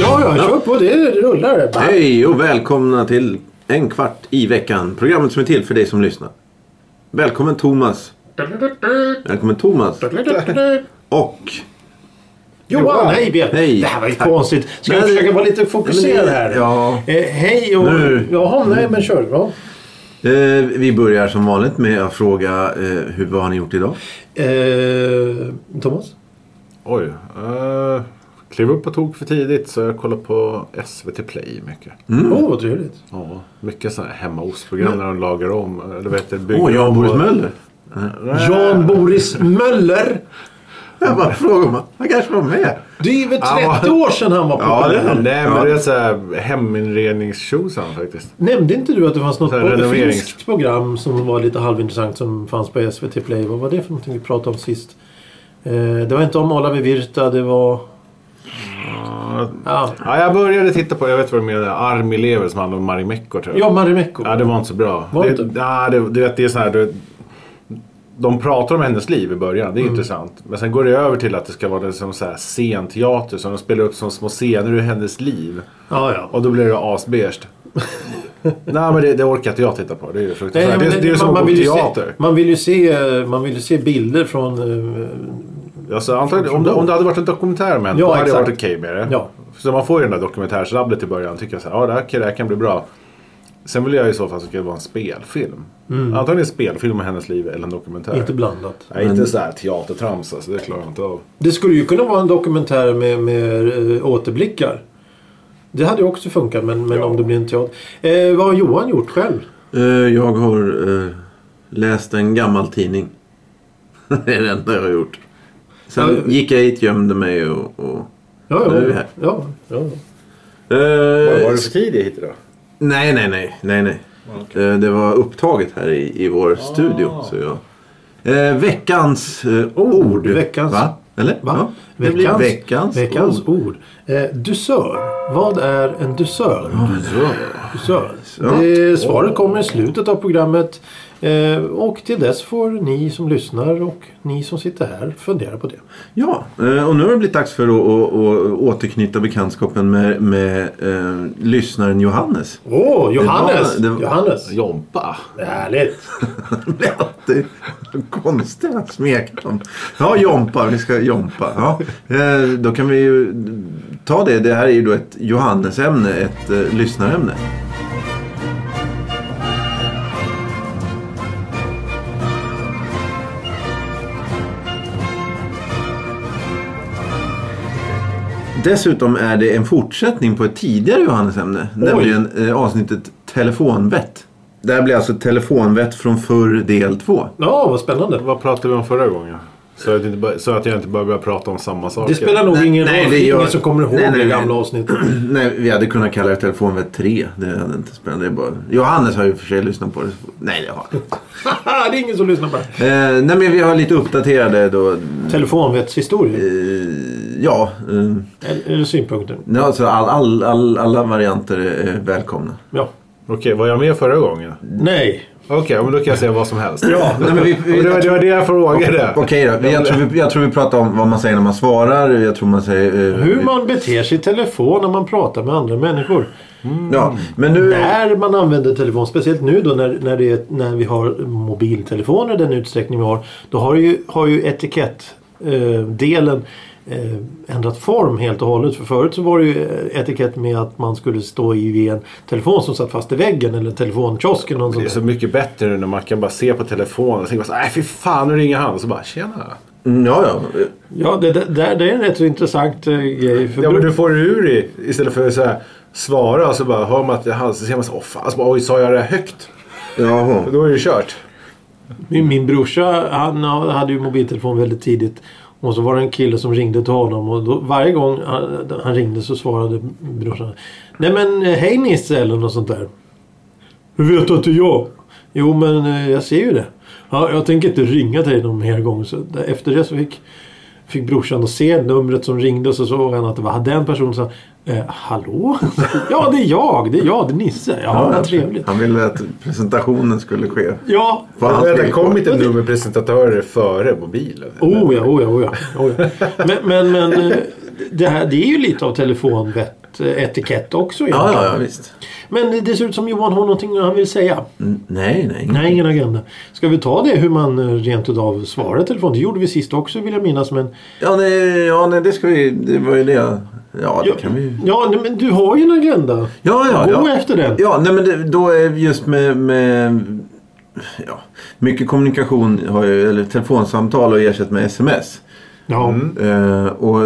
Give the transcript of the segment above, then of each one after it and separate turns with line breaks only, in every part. Ja, ja, kör på. Det rullar. Bam.
Hej och välkomna till en kvart i veckan. Programmet som är till för dig som lyssnar. Välkommen Thomas. Välkommen Thomas. Och...
Johan, hej Björn.
Hej.
Det här var ju
Tack.
konstigt. Ska vi
Nej,
försöka
det-
vara lite fokuserad
Nej, men-
här?
ja.
Eh, hej och...
Nu.
Jaha, nej men kör. Ja.
Eh, vi börjar som vanligt med att fråga eh, hur, vad har ni gjort idag?
Eh, Thomas?
Oj. Uh, klev upp på tok för tidigt så jag kollar på SVT Play mycket.
Åh, vad trevligt.
Ja, mycket sådana här hemmaostprogram när de lagar om. eh, Eller vad heter det? bygger
Åh, jag och
om
Boris
och-
Möller.
Nej,
Jan Boris Möller.
Jag bara frågar om han- han kanske var med.
Det är väl 30
Ja.
år sedan han var på
Ja, det är han.
Nej, men
Ja.
det är så här heminredningstjosan faktiskt.
Nämnde inte du att det fanns något
Så här,
på,
renoverings-
finskt program som var lite halvintressant som fanns på SVT Play? Vad var det för någonting vi pratade om sist? Eh, det var inte om Olavi Virta, det var... Ja,
Ja, jag började titta på, jag vet vad du menar, Armi lever som handlar om Marimekko tror jag.
ja Marimekko.
Ja, det var inte så bra.
Var
det,
det inte?
Ja, det, du vet, det är så här, du, de pratar om hennes liv i början, det är
Mm.
intressant. Men sen går det över till att det ska vara liksom så här scenteater som de spelar upp som små scener ur hennes liv.
ja, ja.
Och då blir det asbeige. Nej men det, det orkar inte jag titta på. Det är ju fruktansvärt.
Nej, men
det, det, är ju som att gå på
vill ju
teater.
Se, man, vill ju se, man vill ju se bilder från... eh,
Alltså, antagligen, om, det, om det hade varit en dokumentär om henne,
Ja,
då hade jag
exakt.
varit okej med det.
Ja.
Så man får ju den där dokumentärsrabblet i början. Tycker jag så här, ja det här, okej, det här kan bli bra. Sen vill jag i så fall att det ska vara en spelfilm. Antagligen en spelfilm om hennes liv eller en dokumentär.
Mm. Inte blandat.
Nej, inte så här teatertrams alltså, det klarar jag inte av.
Det skulle ju kunna vara en dokumentär med, med eh, återblickar. Det hade ju också funkat, men, men om det blir en teater. Eh, vad har Johan gjort själv?
Eh, jag har eh, läst en gammal tidning. det är det enda jag har gjort. Sen
Ja.
gick jag hit, gömde mig och... och...
Ja,
Nu är vi
ja,
här.
ja, ja.
Eh,
för tidigt hit idag?
Nej, nej, nej. nej, nej. Eh, Det var upptaget här i, i vår studio. Så jag... eh, veckans eh, ord.
veckans-
Va? Eller?
Va?
Ja. Det blir veckans,
veckans
ord.
ord. Eh, dusör. Vad är en dusör? dusör.
Ja.
Det, svaret kommer i slutet av programmet. Eh, och till dess får ni som lyssnar och ni som sitter här fundera på det.
Ja, eh, och nu har det blivit dags för att, att, att återknyta bekantskapen med, med eh, lyssnaren Johannes.
Åh, Johannes!
Det var- det-
Johannes!
Jompa.
Härligt!
Det blir alltid konstiga smeknamn. Ja, Jompa. Vi ska Jompa. Ja. Eh, Då kan vi ju ta det. Det här är ju då ett Johannesämne, ett eh, lyssnarämne. Dessutom är det en fortsättning på ett tidigare Johannesämne. Nämligen eh, avsnittet Telefonvett. Det här blir alltså Telefonvett från förr del 2.
Ja, vad spännande.
Vad pratade vi om förra gången? Så att, inte, bara- så att jag inte bara börjar prata om samma saker.
Det spelar nog
Nej,
ingen
nej,
roll.
det
Det
gör-
ingen som kommer ihåg
Nej, nej,
det
nej.
gamla avsnittet.
Nej, vi hade kunnat kalla det Telefonvett 3. Det hade inte spelat. Det är bara... Johannes har ju för sig lyssnat på det. Nej, det har han inte.
Haha, det är ingen som lyssnar på det.
eh, Nej, men vi har lite uppdaterade då.
Telefonvetshistorier.
Eh. Ja, eh,
Eller- Eller synpunkter.
nej, alltså all, all, all, alla varianter är välkomna.
Ja.
Okej, var jag med förra gången?
Nej.
Okej, men då kan jag säga vad som helst.
Ja, nej, men vi- vi-
det, var, det var det jag frågade.
Okej då. Jag tror, vi, jag tror vi pratar om vad man säger när man svarar. Jag tror man säger... eh,
Hur man beter sig i telefon när man pratar med andra människor.
Ja, men nu...
När man använder telefon, speciellt nu då när, när, det, är- när vi har mobiltelefoner i den utsträckning vi har. Då har ju, har ju etikettdelen eh, ändrat form helt och hållet. För förut så var det ju eh, etikett med att man skulle stå i vid en telefon som satt fast i väggen eller en telefonkiosk eller något
Det är
sånt.
så
där.
mycket bättre nu när man kan bara se på telefonen och tänka så här, "Nej, fy fan nu ringer han. Så bara tjena.
Mm, Ja, ja.
Ja, det, det, där- det är en rätt så intressant eh, grej. För
Ja, men du får det ur i, istället för att så här, svara och så bara hör man att det är han så ser man så här, åh fan, så bara, oj sa jag det här högt?
Jaha.
Då är det kört.
Min, min brorsa han hade ju mobiltelefon väldigt tidigt. Och så var det en kille som ringde till honom och då, varje gång han, han ringde så svarade brorsan Nej men eh, hej Nisse eller något sånt där. Hur vet du att det är jag? Jo men eh, jag ser ju det. Ja, jag tänker inte ringa till dig någon mer gång. Så där- efter det så fick, fick brorsan att se numret som ringde och så såg han att det var den personen som sa eh, Hallå? ja, det är jag. Det är jag. Det är Nisse. Ja, vad trevligt.
Han ville att presentationen skulle ske.
Ja.
På hans
Men det
villkor.
kom inte nummerpresentatörer före mobilen?
Oh ja, oh ja, oh ja. Oh ja. Men, men, men eh, det, här, det är ju lite av telefonvett eh, etikett också.
Ja, ja,
egentligen.
ja, visst.
Men det- det ser ut som Johan har någonting han vill säga.
N- Nej, nej.
Nej, ingen agenda. Ska vi ta det hur man eh, rent utav svarar i telefon? Det gjorde vi sist också vill jag minnas. Men
Ja, nej, ja, nej det ska vi... Det var ju det jag... Ja,
Ja,
det kan vi ju...
ja, nej, men du har ju en agenda.
Ja, ja,
Gå
ja.
efter den.
Ja, nej, men det, då är vi just med... med ja, mycket kommunikation, har ju, eller telefonsamtal har ju ersatt med sms.
Ja.
Eh, och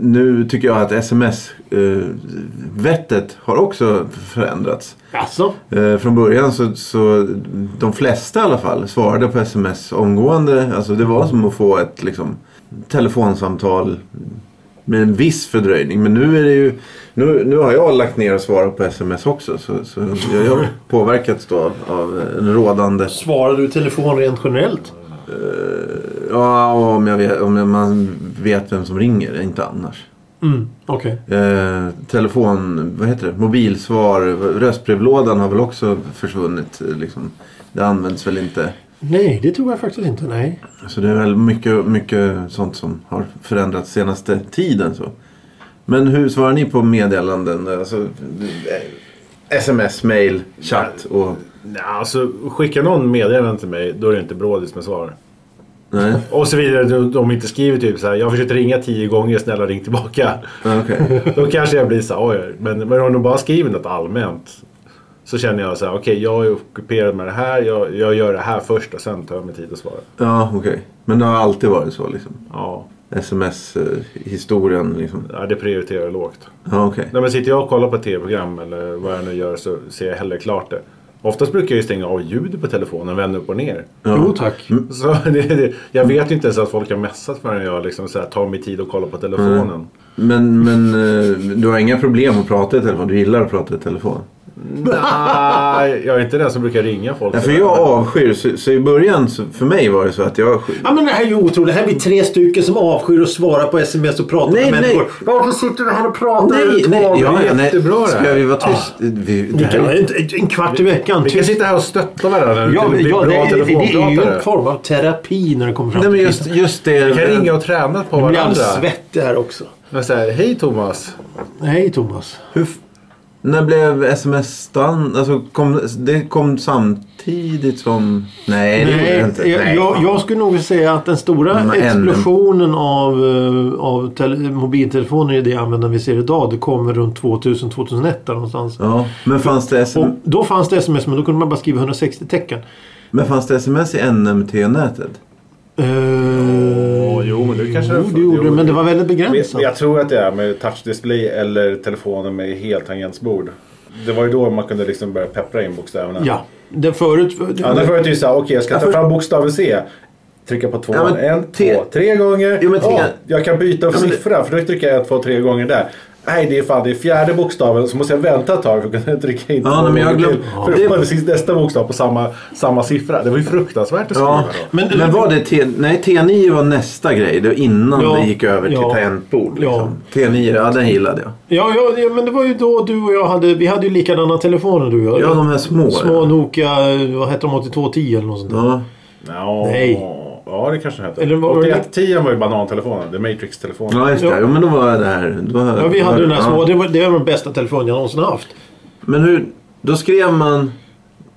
nu tycker jag att sms-vettet har också förändrats.
Alltså,
Eh, från början så, så de flesta i alla fall svarade på sms omgående. Alltså det var som att få ett liksom, telefonsamtal med en viss fördröjning. Men nu är det ju... Nu, nu har jag lagt ner och svarat på sms också. Så, så jag har påverkats då av, av en rådande...
svarar du i telefon rent generellt?
eh, Ja, om, jag vet, om man vet vem som ringer, inte annars.
Mm, okej.
Eh, telefon, vad heter det? Mobilsvar, röstbrevlådan har väl också försvunnit. eh, Liksom. Det används väl inte.
Nej, det tror jag faktiskt inte. Nej.
Så det är väl mycket, mycket sånt som har förändrats senaste tiden. Så. Men hur svarar ni på meddelanden? Alltså, eh, sms, mail, chatt och...
Nej, alltså skicka någon meddelande till mig, då är det inte brådis med svar.
Nej,
Och så vidare, de- de inte skriver typ så här, jag har försökt ringa tio gånger, snälla ring tillbaka.
Ja, Ah, okej.
Då kanske jag blir så här, oj, men, men om de bara skriver något allmänt. Så känner jag så här, okej jag är ockuperad med det här, jag, jag gör det här först och sen tar jag mig tid att svara.
Ja, okej. Men det har alltid varit så liksom?
Ja,
Sms-historien eh, liksom?
ja, det prioriterar jag lågt.
Ja, okej.
Nej, men sitter jag och kollar på ett tv-program eller vad jag nu gör så ser jag hellre klart det. Oftast brukar jag ju stänga av ljudet på telefonen, vända upp och ner.
Jo tack.
Mm.
Så det, det, jag vet ju inte ens att folk har messat förrän jag liksom så här, tar mig tid och kollar på telefonen.
Mm. Men, men eh, du har inga problem att prata i telefon? Du gillar att prata i telefon?
Nej, jag är inte den som brukar ringa folk.
Ja, för jag avskyr, så, så i början så, för mig var det så att jag...
Ja, men det här är ju otroligt. Här är vi tre stycken som avskyr att svara på sms och prata
Nej,
med
nej.
människor. Varför sitter du här och pratar?
Nej, nej,
det är
ja, ja, nej.
jättebra det här.
Ska vi vara tyst? Vi, det
Vi
här
kan,
är,
en, en kvart i veckan.
Vi kan
tyst.
sitta här och stötta varandra.
ja,
det
men-
blir
ja,
bra
det, det, det är ju en
telefonpratare.
form av terapi när det kommer fram
nej, men
till
just,
kritan.
just det.
Vi kan ringa och träna på
Jag blir alldeles
varandra.
svettig här också.
Men så här, Hej Thomas.
Hej Thomas.
Hur, f- när blev sms stan alltså, kom, Det kom samtidigt som... Nej, det gjorde det inte.
jag, jag, jag skulle nog säga att den stora
Men ännu-
explosionen av, eh, av tele, mobiltelefoner i det användande vi ser idag det kommer runt 2000-2001 där någonstans.
Ja, men, fanns det SM,
Och då fanns det sms men då kunde man bara skriva 160 tecken.
men fanns det sms i NMT-nätet?
Eh,
Åh, jo, men det kanske-
jo, det gjorde det,
jo.
men det var väldigt
Men
begränsat.
Jag tror att det är med touchdisplay eller telefonen med heltangentbord. Det var ju då man kunde liksom börja peppra in bokstäverna.
Ja, det förut...
Annars var det ju såhär, okej jag ska ta fram bokstaven C. Trycka på tvåan
Ja, men
en,
te-
två, tre gånger.
Jo, men te-
Åh, jag kan byta
men det-
siffra för då trycker jag ett, två, tre gånger där. Nej, det är fan det är fjärde bokstaven så måste jag vänta ett tag för att kunna trycka in
Ja,
två
nej, men jag
gånger
glöm-
till.
Ja,
För
det-
då var det sist- nästa bokstav på samma, samma siffra. Det var ju fruktansvärt att skriva
Ja,
då.
men, var det T... Nej, T9 var nästa grej. Det var innan
Ja,
det gick över till
ja,
tangentbord. Liksom.
ja.
T9, ja den gillade jag.
Ja, ja, ja, men det var ju då du och jag hade... Vi hade ju likadana telefoner du och jag.
Ja, de här små.
Små Nokia, eh, vad hette de? 8210 eller något sånt där.
Ja.
Ja,
Nej.
Ja, det kanske den hette.
Eller var det-
8110 var ju banantelefonen, The Matrix-telefonen.
ja, just det.
Ja.
Jo, men då var det här. Då var,
Ja, vi hade den här
ja.
små. Det var, det var den bästa telefonen jag någonsin haft.
Men hur... Då skrev man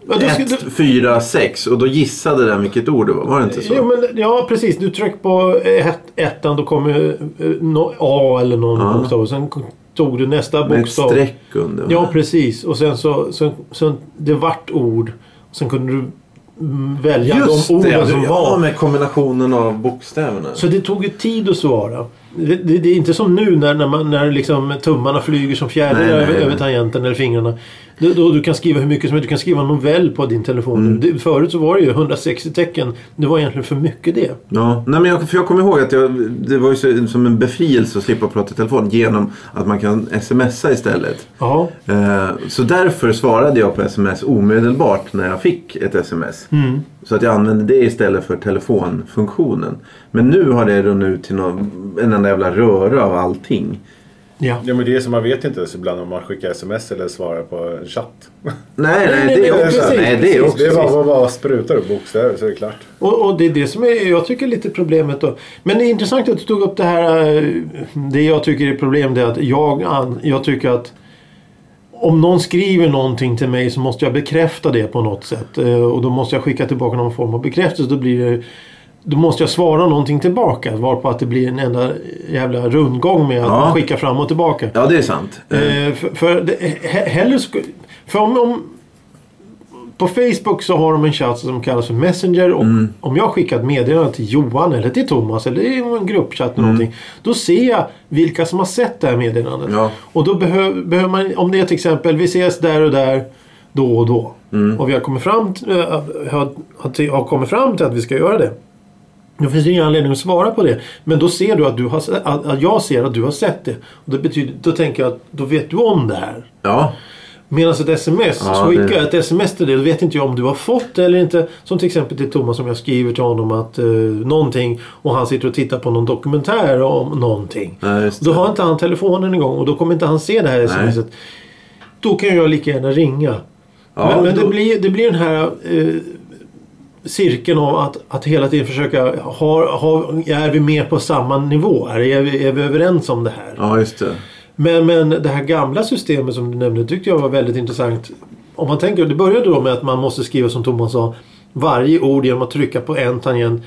Ja, då skulle-
1, 4, 6 och då gissade den vilket ord det var. Var det inte så?
Jo, men, ja, precis. Du tryckte på eh, ett, ettan, då kom eh, no, A eller någon
Ja.
bokstav. Och sen tog du nästa
Med ett
bokstav.
streck under. va?
Ja, precis. Och sen så... så, så det vart ord. Sen kunde du mm, välja
Just
de orden
det, alltså,
som var.
ja, med kombinationen av bokstäverna.
Så det tog ju tid att svara. Det, det, det är inte som nu när, när, man, när liksom tummarna flyger som fjärilar
Nej, nej,
över,
nej.
över tangenten eller fingrarna. Du, du, du kan skriva hur mycket som helst. Du kan skriva en novell på din telefon.
Mm.
Det, förut så var det ju 160 tecken. Det var egentligen för mycket det.
Ja, nej men jag, för jag kommer ihåg att jag, det var ju så, som en befrielse att slippa prata i telefon genom att man kan smsa istället.
Ja,
Eh, Så därför svarade jag på sms omedelbart när jag fick ett sms.
Mm.
Så att jag använde det istället för telefonfunktionen. Men nu har det runnit ut till någon, en enda jävla röra av allting.
ja.
Ja, men det är som man vet inte ens ibland om man skickar sms eller svarar på en chatt.
Nej,
Nej,
nej,
nej,
det
nej,
är också.
precis,
Nej, det är
Det är
också.
bara, bara, bara sprutar upp bokstäver så är det klart.
Och, och det är det som är, jag tycker är lite problemet då. Men det är intressant att du tog upp det här. eh, Det jag tycker är problem det är att jag, an- jag tycker att om någon skriver någonting till mig så måste jag bekräfta det på något sätt. Eh, Och då måste jag skicka tillbaka någon form av bekräftelse. Då, blir det, då måste jag svara någonting tillbaka. Varpå att det blir en enda jävla rundgång med att
Ja.
skicka fram och tillbaka.
Ja, det är sant. Eh,
Eh, för för, det, he, hellre sku, för om, om, på Facebook så har de en chatt som kallas för Messenger. Och Om jag skickar ett meddelande till Johan eller till Thomas eller i en gruppchatt eller någonting. Då ser jag vilka som har sett det här meddelandet.
Ja.
Och då behöver, behöver man, om det är till exempel vi ses där och där då och då. Och vi har kommit, fram t- eh, har, har, har kommit fram till att vi ska göra det. Då finns det ingen anledning att svara på det. Men då ser du att, du har, se- att, att jag ser att du har sett det. Och det betyder, då tänker jag att då vet du om det här.
Ja,
Medan ett sms,
Ja,
så skickar
det-
jag ett sms till dig. Då vet inte jag om du har fått det eller inte. Som till exempel till Thomas som jag skriver till honom att eh, någonting och han sitter och tittar på någon dokumentär om någonting.
ja, just
Då
det.
har inte han telefonen igång och då kommer inte han se det här smset. Då kan jag lika gärna ringa.
Ja,
men men
då-
det, blir, det blir den här eh, cirkeln av att, att hela tiden försöka, har, har, är vi med på samma nivå? Är, är, vi, är vi överens om det här?
Ja, just det.
Men, men det här gamla systemet som du nämnde tyckte jag var väldigt intressant. Om man tänker, det började då med att man måste skriva som Thomas sa varje ord genom att trycka på en tangent.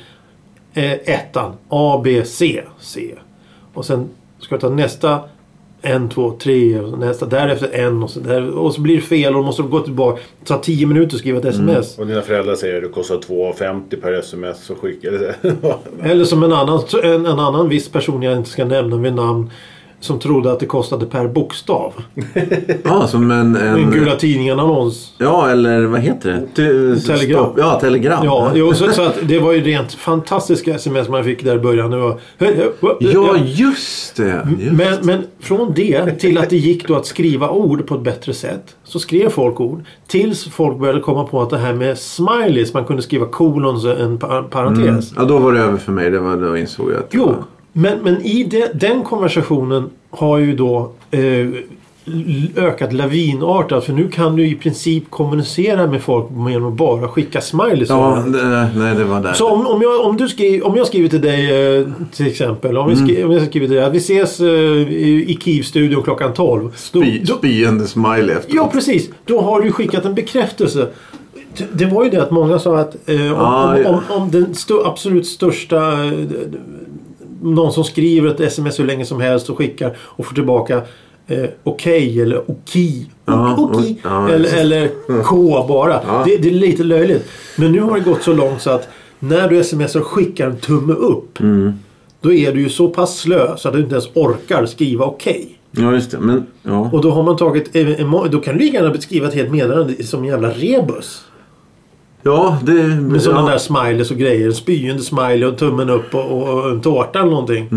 Eh, ettan, A, B, C, C. Och sen ska jag ta nästa en, två, tre och nästa därefter en och så, där, och så blir det fel och då måste du gå tillbaka. Det tar tio minuter att skriva ett sms.
Och dina föräldrar säger att det kostar 2,50 per sms så skickar det.
Eller som en annan, en, en annan viss person jag inte ska nämna vid namn som trodde att det kostade per bokstav.
Ja, som
En
en... en
Gula Tidningen-annons.
ja, eller vad heter det? Ty-
Telegram.
stopp. Ja, telegram.
Ja, jo, så, så att det var ju rent fantastiska sms man fick där i början. Det var,
ja just det. Just.
men, men från det till att det gick då att skriva ord på ett bättre sätt. Så skrev folk ord. Tills folk började komma på att det här med smileys, man kunde skriva kolon så en par- parentes.
Ja, då var det över för mig. Det var, då insåg jag att...
Jo, men, men i de, den konversationen har ju då eh, l- ökat lavinartat. För nu kan du i princip kommunicera med folk genom att bara skicka smileys.
Ja, det- nej, det var där.
Så om, om, jag, om, du skri, om jag skriver till dig eh, till exempel. Om, vi
Mm.
skri, om jag skriver till dig att vi ses eh, i i Kiev-studion klockan 12. Då,
Spy,
då,
spyende smiley efteråt.
ja, precis. Då har du skickat en bekräftelse. Det- Det var ju det att många sa att eh, om,
Ah, Ja,
om,
ja.
om, om den stö- absolut största... Eh, någon som skriver ett sms hur länge som helst och skickar och får tillbaka eh, okej eller oki.
Ja,
Oki
oj, ja,
eller,
just.
eller K bara.
Ja.
Det, det är lite löjligt. Men nu har det gått så långt så att när du smsar och skickar en tumme upp.
Mm.
Då är du ju så pass slö så att du inte ens orkar skriva okej.
Ja, just det. Men, ja.
Och då har man tagit... eh, emo- Då kan du lika gärna beskriva ett helt meddelande som en jävla rebus.
ja, det...
Med sådana
ja.
där smileys och grejer. En spyende smiley och tummen upp och, och en tårta eller någonting.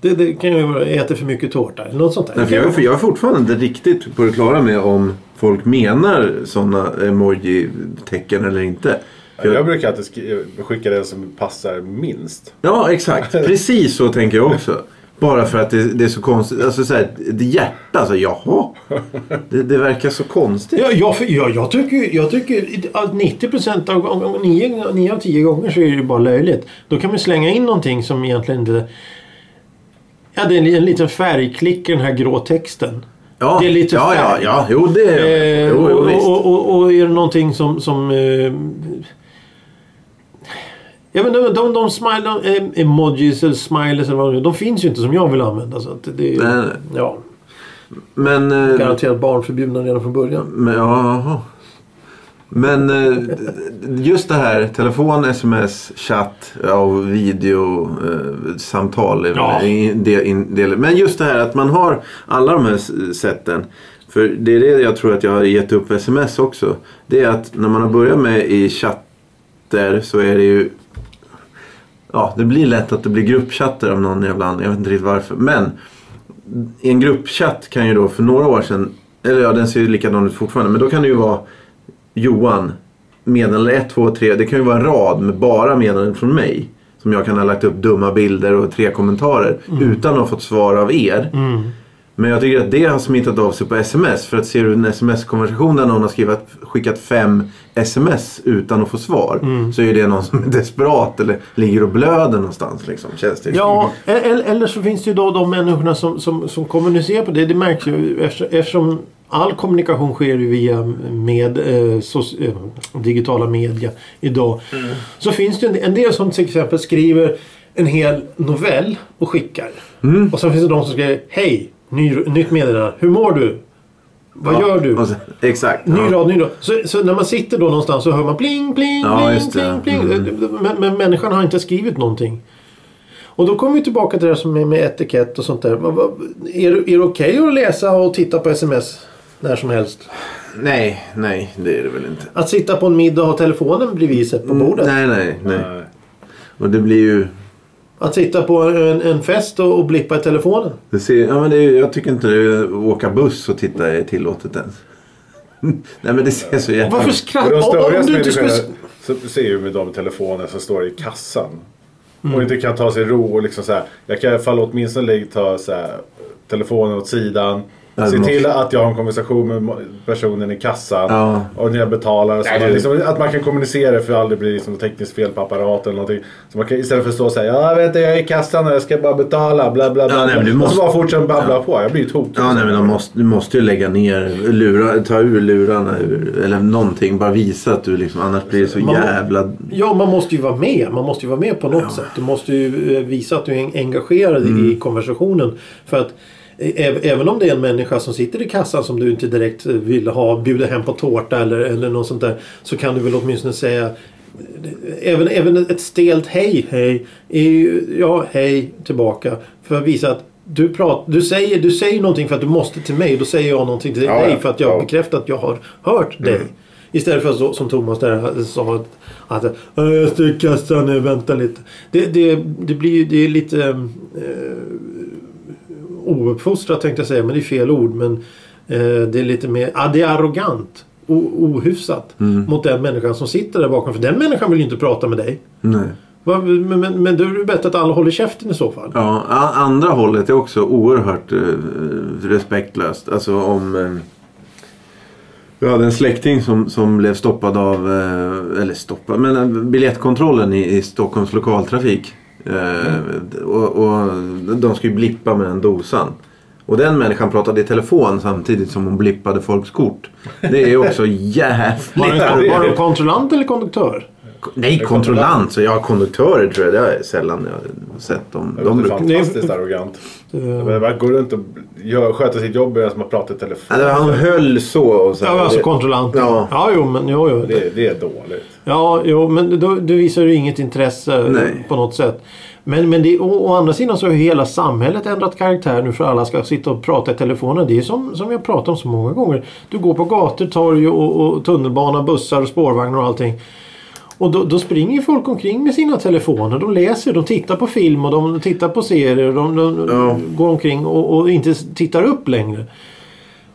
Det, det kan ju vara äter för mycket tårta eller något sånt där.
Mm. Nej, för jag, är- för jag är fortfarande inte riktigt på det klara med om folk menar sådana emoji-tecken eller inte. För
Jag
jag,
brukar alltid skri- skicka den som passar minst.
ja, exakt. Precis så tänker jag också. Bara för att det, det är så konstigt. Alltså så här, ett hjärta. Så, jaha. Det, det verkar så konstigt.
Ja, jag, för- jag, jag tycker, ju- jag tycker att 90% av, om- om- nio nio av tio gånger så är det ju bara löjligt. Då kan man slänga in någonting som egentligen inte... Ja, det är en, en liten färgklick i den här grå texten.
Ja,
Det är lite
ja, ja,
färg.
ja. Jo, det är
Eh,
jo, jo,
och,
visst.
och, och, och är det någonting som... som eh, jag vet, de, de, de, smile, de eh, emojis eller smileys eller vad det är, de finns ju inte som jag vill använda. Så att det är,
Nej, nej.
Ja,
Men... eh,
garanterat barnförbjudna redan från början.
Men, ja, jaha. Men eh, just det här telefon, sms, chatt ja, och videosamtal. Eh, samtal är väl
Ja.
en del, in, del. Men just det här att man har alla de här s- sätten. För det är det jag tror att jag har gett upp sms också. Det är att när man har börjat med i chatter så är det ju... Ja, det blir lätt att det blir gruppchatter av någon jävla anledning. Jag vet inte riktigt varför. Men en gruppchatt kan ju då för några år sedan, eller ja den ser ju likadan ut fortfarande, men då kan det ju vara Johan, meddelande 1, 2, 3. Det kan ju vara en rad med bara meddelanden från mig. Som jag kan ha lagt upp dumma bilder och tre kommentarer
Mm.
utan att ha fått svar av er. Men jag tycker att det har smittat av sig på sms. För att ser du en sms-konversation där någon har skrivit, skickat fem sms utan att få svar.
Mm.
Så är det någon som är desperat eller ligger och blöder någonstans. Liksom, känns det
Ja, eller, eller så finns det ju då de människorna som, som, som kommunicerar på det. Det märks ju efter- eftersom all kommunikation sker ju via med, eh, soc- eh, digitala media idag.
Mm.
Så finns det ju en, en del som till exempel skriver en hel novell och skickar.
Mm.
Och sen finns det de som skriver Hej! Ny, nytt meddelande. Hur mår du? Vad
Ja,
gör du?
och sen- exakt.
Ny
ja.
rad, ny rad. Så, så när man sitter då någonstans så hör man pling, pling,
Ja,
pling,
just det. Mm.
pling, pling. Men, men människan har inte skrivit någonting. Och då kommer vi tillbaka till det här som är med etikett och sånt där. Vad- vad- Är, det- är det okej att läsa och titta på sms när som helst?
Nej, nej, det är det väl inte.
Att sitta på en middag och ha telefonen bredvid sig på bordet?
Mm, Nej, nej, nej.
Nej.
Och det blir ju...
Att sitta på en, en fest och, och blippa i telefonen?
Det ser, ja, men det är, jag tycker inte det, att åka buss och titta är tillåtet ens. nej, men det ser så jävla...
Varför
Och
skrattar...
de
Om, om
störigaste
du inte skulle...
människorna så ser ju med de telefoner som står i kassan. Och inte kan ta sig ro och liksom så här. Jag kan i alla fall åtminstone ta så här, telefonen åt sidan.
Ja, det
Se
måste-
till att jag har en konversation med mo- personen i kassan.
Ja.
Och när jag betalar. Så
Nej,
man
det-
liksom, att man kan kommunicera för det aldrig blir liksom tekniskt fel på apparaten. Eller någonting. Så man kan, istället för att stå så här. Ja, vänta, jag är i kassan och jag ska bara betala. Bla, bla, bla.
nej, men du
bla. Och
måste-
så bara fortsätta babbla på. Jag blir ju tokig.
Ja, nej, men de måste, du måste ju lägga ner, lura, ta ur lurarna ur, eller någonting. Bara visa att du liksom, annars blir det så
Man-
jävla...
Ja, man måste ju vara med. Man måste ju vara med på något sätt. Du måste ju eh, visa att du är en- engagerad i konversationen. För att eh, äv- Även om det är en människa som sitter i kassan som du inte direkt eh, vill ha, bjuda hem på tårta eller, eller något sånt där. Så kan du väl åtminstone säga eh, Även, även ett stelt hej hej är ju, ja hej tillbaka. För att visa att du, prat, du, säger, du säger någonting för att du måste till mig. Då säger jag någonting till
Ja,
dig
ja.
för att jag
Ja. Mm.
bekräftar att jag har hört dig. Istället för så, som Thomas där eh, sa att, att "Äh, jag står i kassan nu, vänta lite. Det, det, det blir ju det är lite eh, ouppfostrat tänkte jag säga, men det är fel ord. Men eh, det är lite mer, ja det är arrogant. O, ohyfsat
Mm.
mot den människan som sitter där bakom. För den människan vill ju inte prata med dig.
Nej.
Va, men, men, men då är det bättre att alla håller käften i så fall.
Ja, a- andra hållet är också oerhört eh, respektlöst. Alltså om... Eh, jag hade en släkting som, som blev stoppad av, eh, eller stoppad, men eh, biljettkontrollen i, i Stockholms lokaltrafik. Eh, och, och de skulle ju blippa med den dosan. Och den människan pratade i telefon samtidigt som hon blippade folks kort. Det är ju också jävligt
Var det,
det är
var det
det.
kontrollant eller konduktör?
Nej, kontrollant. Så jag konduktörer tror jag. Det har jag sällan jag har sett dem.
Det
De
låter
brukar...
fantastiskt arrogant. Men man går runt och gör, sköter sitt jobb medan man pratar i telefon.
Ja, det var- han höll så och så.
Ja, alltså kontrollant.
Ja.
ja jo, men jo, jo.
Det, det är dåligt.
Ja, jo, men då, du visar ju inget intresse
Nej.
på något sätt. Men, men det, å, å andra sidan så har ju hela samhället ändrat karaktär nu för alla ska sitta och prata i telefonen. Det är ju som, som vi har pratat om så många gånger. Du går på gator, torg och, och tunnelbana, bussar och spårvagnar och allting. Och då, då springer ju folk omkring med sina telefoner. De läser, de tittar på film och de tittar på serier. De, de
Ja.
går omkring och, och inte tittar upp längre.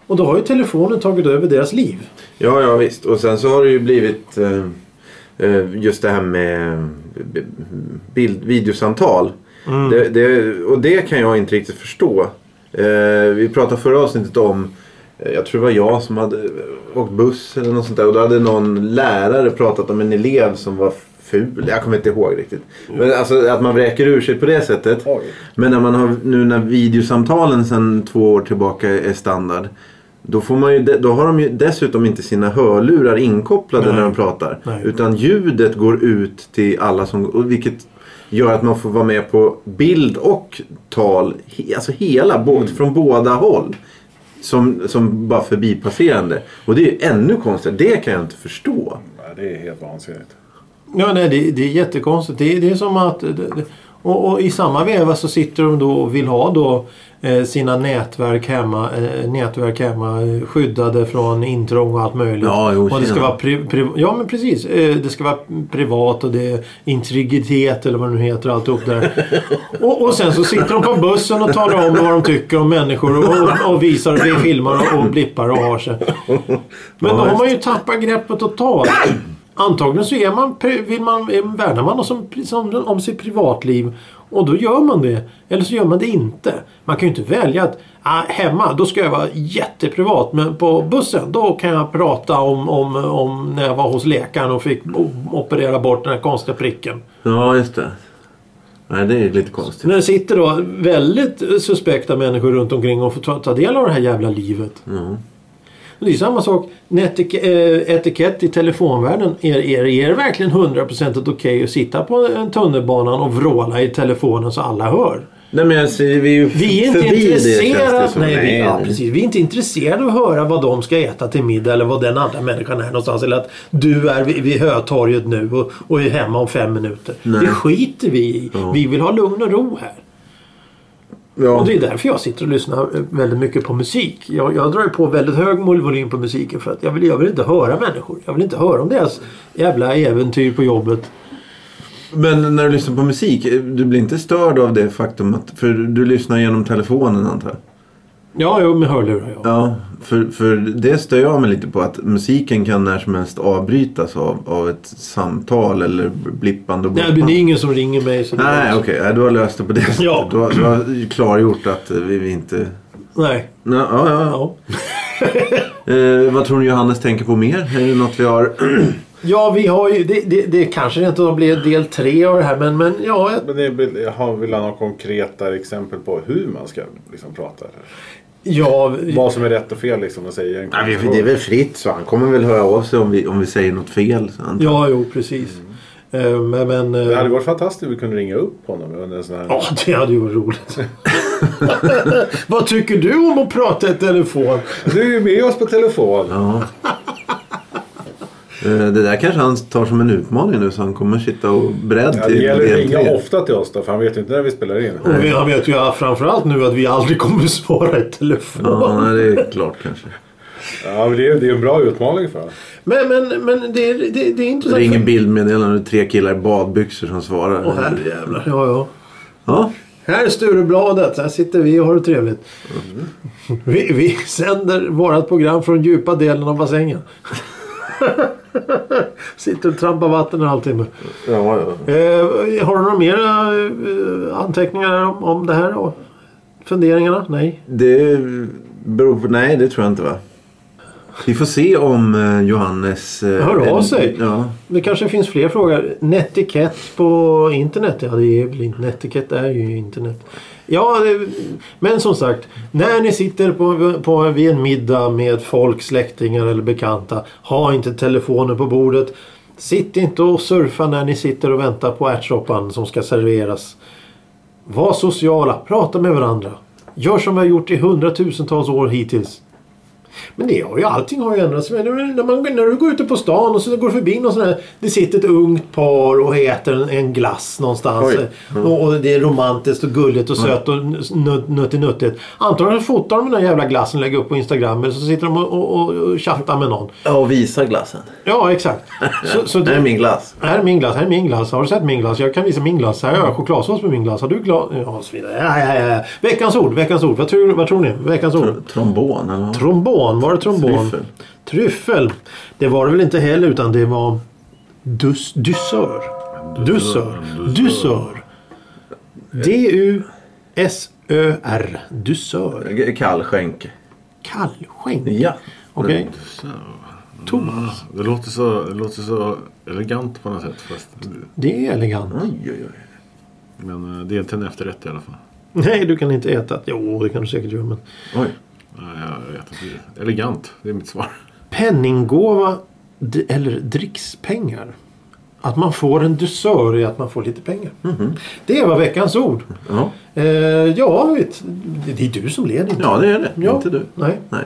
Och då har ju telefonen tagit över deras liv.
Ja, ja visst. Och sen så har det ju blivit eh, eh, just det här med eh, bild, videosamtal. Det, det, och det kan jag inte riktigt förstå. Eh, vi pratade förra avsnittet om, eh, jag tror det var jag som hade eh, åkt buss eller något sånt där. Och då hade någon lärare pratat om en elev som var ful. Jag kommer inte ihåg riktigt. Men alltså att man vräker ur sig på det sättet.
Oj.
Men när man har, nu när videosamtalen sedan två år tillbaka är standard. Då, får man ju, de- då har de ju dessutom inte sina hörlurar inkopplade
Nej.
när de pratar.
Nej.
Utan ljudet går ut till alla som... och Vilket gör att man får vara med på bild och tal. he- Alltså hela, bå-
Mm.
från båda håll. Som, som bara förbipasserande. Och det är ju ännu konstigare. Det kan jag inte förstå.
Nej, det är helt vansinnigt.
Ja, nej, det, det är jättekonstigt. Det, det är som att... Det, det, Och, och i samma veva så sitter de då och vill ha då eh, sina nätverk hemma, eh, nätverk hemma eh, skyddade från intrång och allt möjligt.
Ja, jo,
och det ska
tjena.
vara pri- pri- ja men precis. Eh, det ska vara privat och det är integritet eller vad det nu heter alltihop där. och, och sen så sitter de på bussen och talar om vad de tycker om människor och, och, och visar och vi filmar och, och blippar och har sig. Men då har man ju tappat greppet totalt. Antagligen så är man, pri- vill man, eh, värnar man om, som, som, om sitt privatliv och då gör man det. Eller så gör man det inte. Man kan ju inte välja att ah, hemma då ska jag vara jätteprivat men på bussen då kan jag prata om, om, om när jag var hos läkaren och fick o- operera bort den här konstiga pricken.
Ja, just det. Nej, det är lite konstigt.
När det sitter då väldigt suspekta människor runt omkring och får ta, ta del av det här jävla livet. Det är samma sak. Etik etikett i telefonvärlden. Är, är, är det verkligen hundraprocentigt okej att sitta på en tunnelbanan och vråla i telefonen så alla hör?
Nej, men alltså, vi är ju
Vi är inte
förbi det känns
intresserade
det som.
nej, vi, ja,
nej.
precis. vi är inte intresserade av att höra vad de ska äta till middag eller vad den andra människan är någonstans. Eller att du är vid, vid Hötorget nu och, och är hemma om fem minuter. Det skiter vi i. Vi vill ha lugn och ro här.
Ja.
Och det är därför jag sitter och lyssnar eh, väldigt mycket på musik. Jag, jag drar ju på väldigt hög volym på musiken för att jag vill, jag vill inte höra människor. Jag vill inte höra om deras jävla äventyr på jobbet.
Men när du lyssnar på musik, eh, du blir inte störd av det faktum att... För du lyssnar genom telefonen antar jag?
Ja, jo, med hörlurar ja.
Ja, för, för det stör jag mig lite på att musiken kan när som helst avbrytas av, av ett samtal eller blippande och
Nej,
blippande.
men det är ingen som ringer mig. Så det
Nej, okej. Nej, Du har löst det på det sättet.
Ja.
Du, har, du har ju klargjort att eh, vi vi inte...
Nej.
Nej, ja, ja. ja.
Ja.
Eh, vad tror ni Johannes tänker på mer? Är det något vi har...
ja, vi har ju... Det, det, det kanske inte blir del tre av det här men, men ja, jag-
Men det vill, jag har- vill ha några konkreta exempel på hur man ska liksom, prata.
ja,
Vad som är rätt och fel liksom att säga. i en
Nej, vi-
konversation.
det är väl fritt så han kommer väl höra av sig om vi, om vi säger något fel. Så han...
ja, jo precis. Eh, Men... men eh,
Det hade varit fantastiskt om vi kunde ringa upp honom under en sån här...
Ja, det hade ju varit roligt. Vad tycker du om att prata i telefon?
Du är ju med oss på telefon.
Ja. Eh, Det där kanske han tar som en utmaning nu så han kommer sitta och beredd
Ja, det
till E
gäller att
del
ringa
tre.
ofta till oss då, för han vet ju inte när vi spelar in.
Och vi han vet ju framförallt nu att vi aldrig kommer att svara i telefon.
Ja, nej, det är klart kanske.
Ja, men det är det är en bra utmaning för honom.
Men, men, men det, är- det, det är intressant.
Ring en bildmeddelande och tre killar i badbyxor som svarar.
Åh herrejävlar. Ja, ja.
Ja,
Här är Sturebladet. Här sitter vi och har det trevligt. Mm. Vi, vi sänder vårt program från djupa delen av bassängen. sitter och trampar vatten en halvtimme.
ja, ja.
Eh, har du några mer eh, anteckningar om, om det här? Och funderingarna? Nej.
Det beror på... Nej, det tror jag inte va? Vi får se om eh, Johannes... eh,
Hör av sig.
Ja.
Det kanske finns fler frågor. Netikett på internet? Ja, det är väl inte. Netikett är ju internet. Ja, det, men som sagt. När ni sitter på, på, vid en middag med folk, släktingar eller bekanta. Ha inte telefonen på bordet. Sitt inte och surfa när ni sitter och väntar på ärtsoppan som ska serveras. Var sociala. Prata med varandra. Gör som vi har gjort i hundratusentals år hittills. Men det har ju allting har ju ändrats. Men när, man, när du går ute på stan och så går du förbi någon sån här. Det sitter ett ungt par och äter en, en glass någonstans.
Oj. Mm.
Och, och det är romantiskt och gulligt och sött och nut- nuttinuttigt. Antagligen fotar de den där jävla glassen och lägger upp på Instagram. Eller så sitter de och, och, och chattar med någon.
Ja, och visa glassen.
Ja, exakt. Så, så
Det
det,
är min glass.
här är min glass, här är min glass. Har du sett min glass? Jag kan visa min glass. Här har jag chokladsås på min glass. Har du glas? Ja, och så vidare. Ja, ja, ja. Veckans ord, veckans ord. Vad tror, vad tror ni? Veckans ord.
Trombon, eller? vad?
Trombon, var det trombon?
Tryffel.
Tryffel. Det var det väl inte heller utan det var dus, dusör. Dusör. Dusör. D-U-S-Ö-R. Dusör.
Kallskänk.
Kallskänk.
Ja. Mm.
Okej. Thomas.
Det låter, så, det låter så elegant på något sätt. Fast,
Det är elegant.
Oj, oj, oj.
men eh, det är inte en efterrätt i alla fall.
Nej, du kan inte äta. Jo, det kan du säkert göra. Men...
oj.
Nej, jag vet inte. Elegant, det är mitt svar.
Penninggåva d- eller drickspengar. Att man får en dusör är att man får lite pengar.
Mhm.
Det var veckans ord.
Ja.
Eh, ja, vet, det är du som leder. inte
ja, det är det.
Ja.
Inte du.
Nej.
Nej.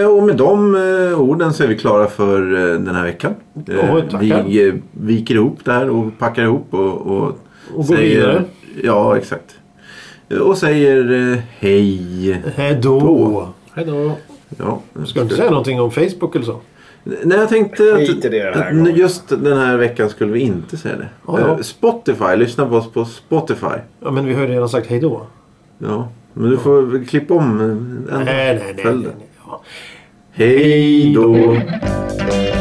Eh, och med de eh, orden så är vi klara för eh, den här veckan. Eh,
Ja, tackar.
vi eh, viker ihop det här och packar ihop och, och,
Och går vidare.
Ja, exakt. Och säger eh, hej.
Hej då.
Då.
Hejdå.
Ja,
Ska du inte säga någonting om Facebook eller så?
Nej, jag tänkte
Skit i det den
att,
här
att
gången.
just den här veckan skulle vi inte säga det.
Ja, ja.
Eh, Spotify, lyssna på oss på Spotify.
Ja, men vi har ju redan sagt hej då.
Ja, men du får väl klippa om. eh, en-
Nej, nej, nej. nej,
följ det.
nej. Ja.
Hej då.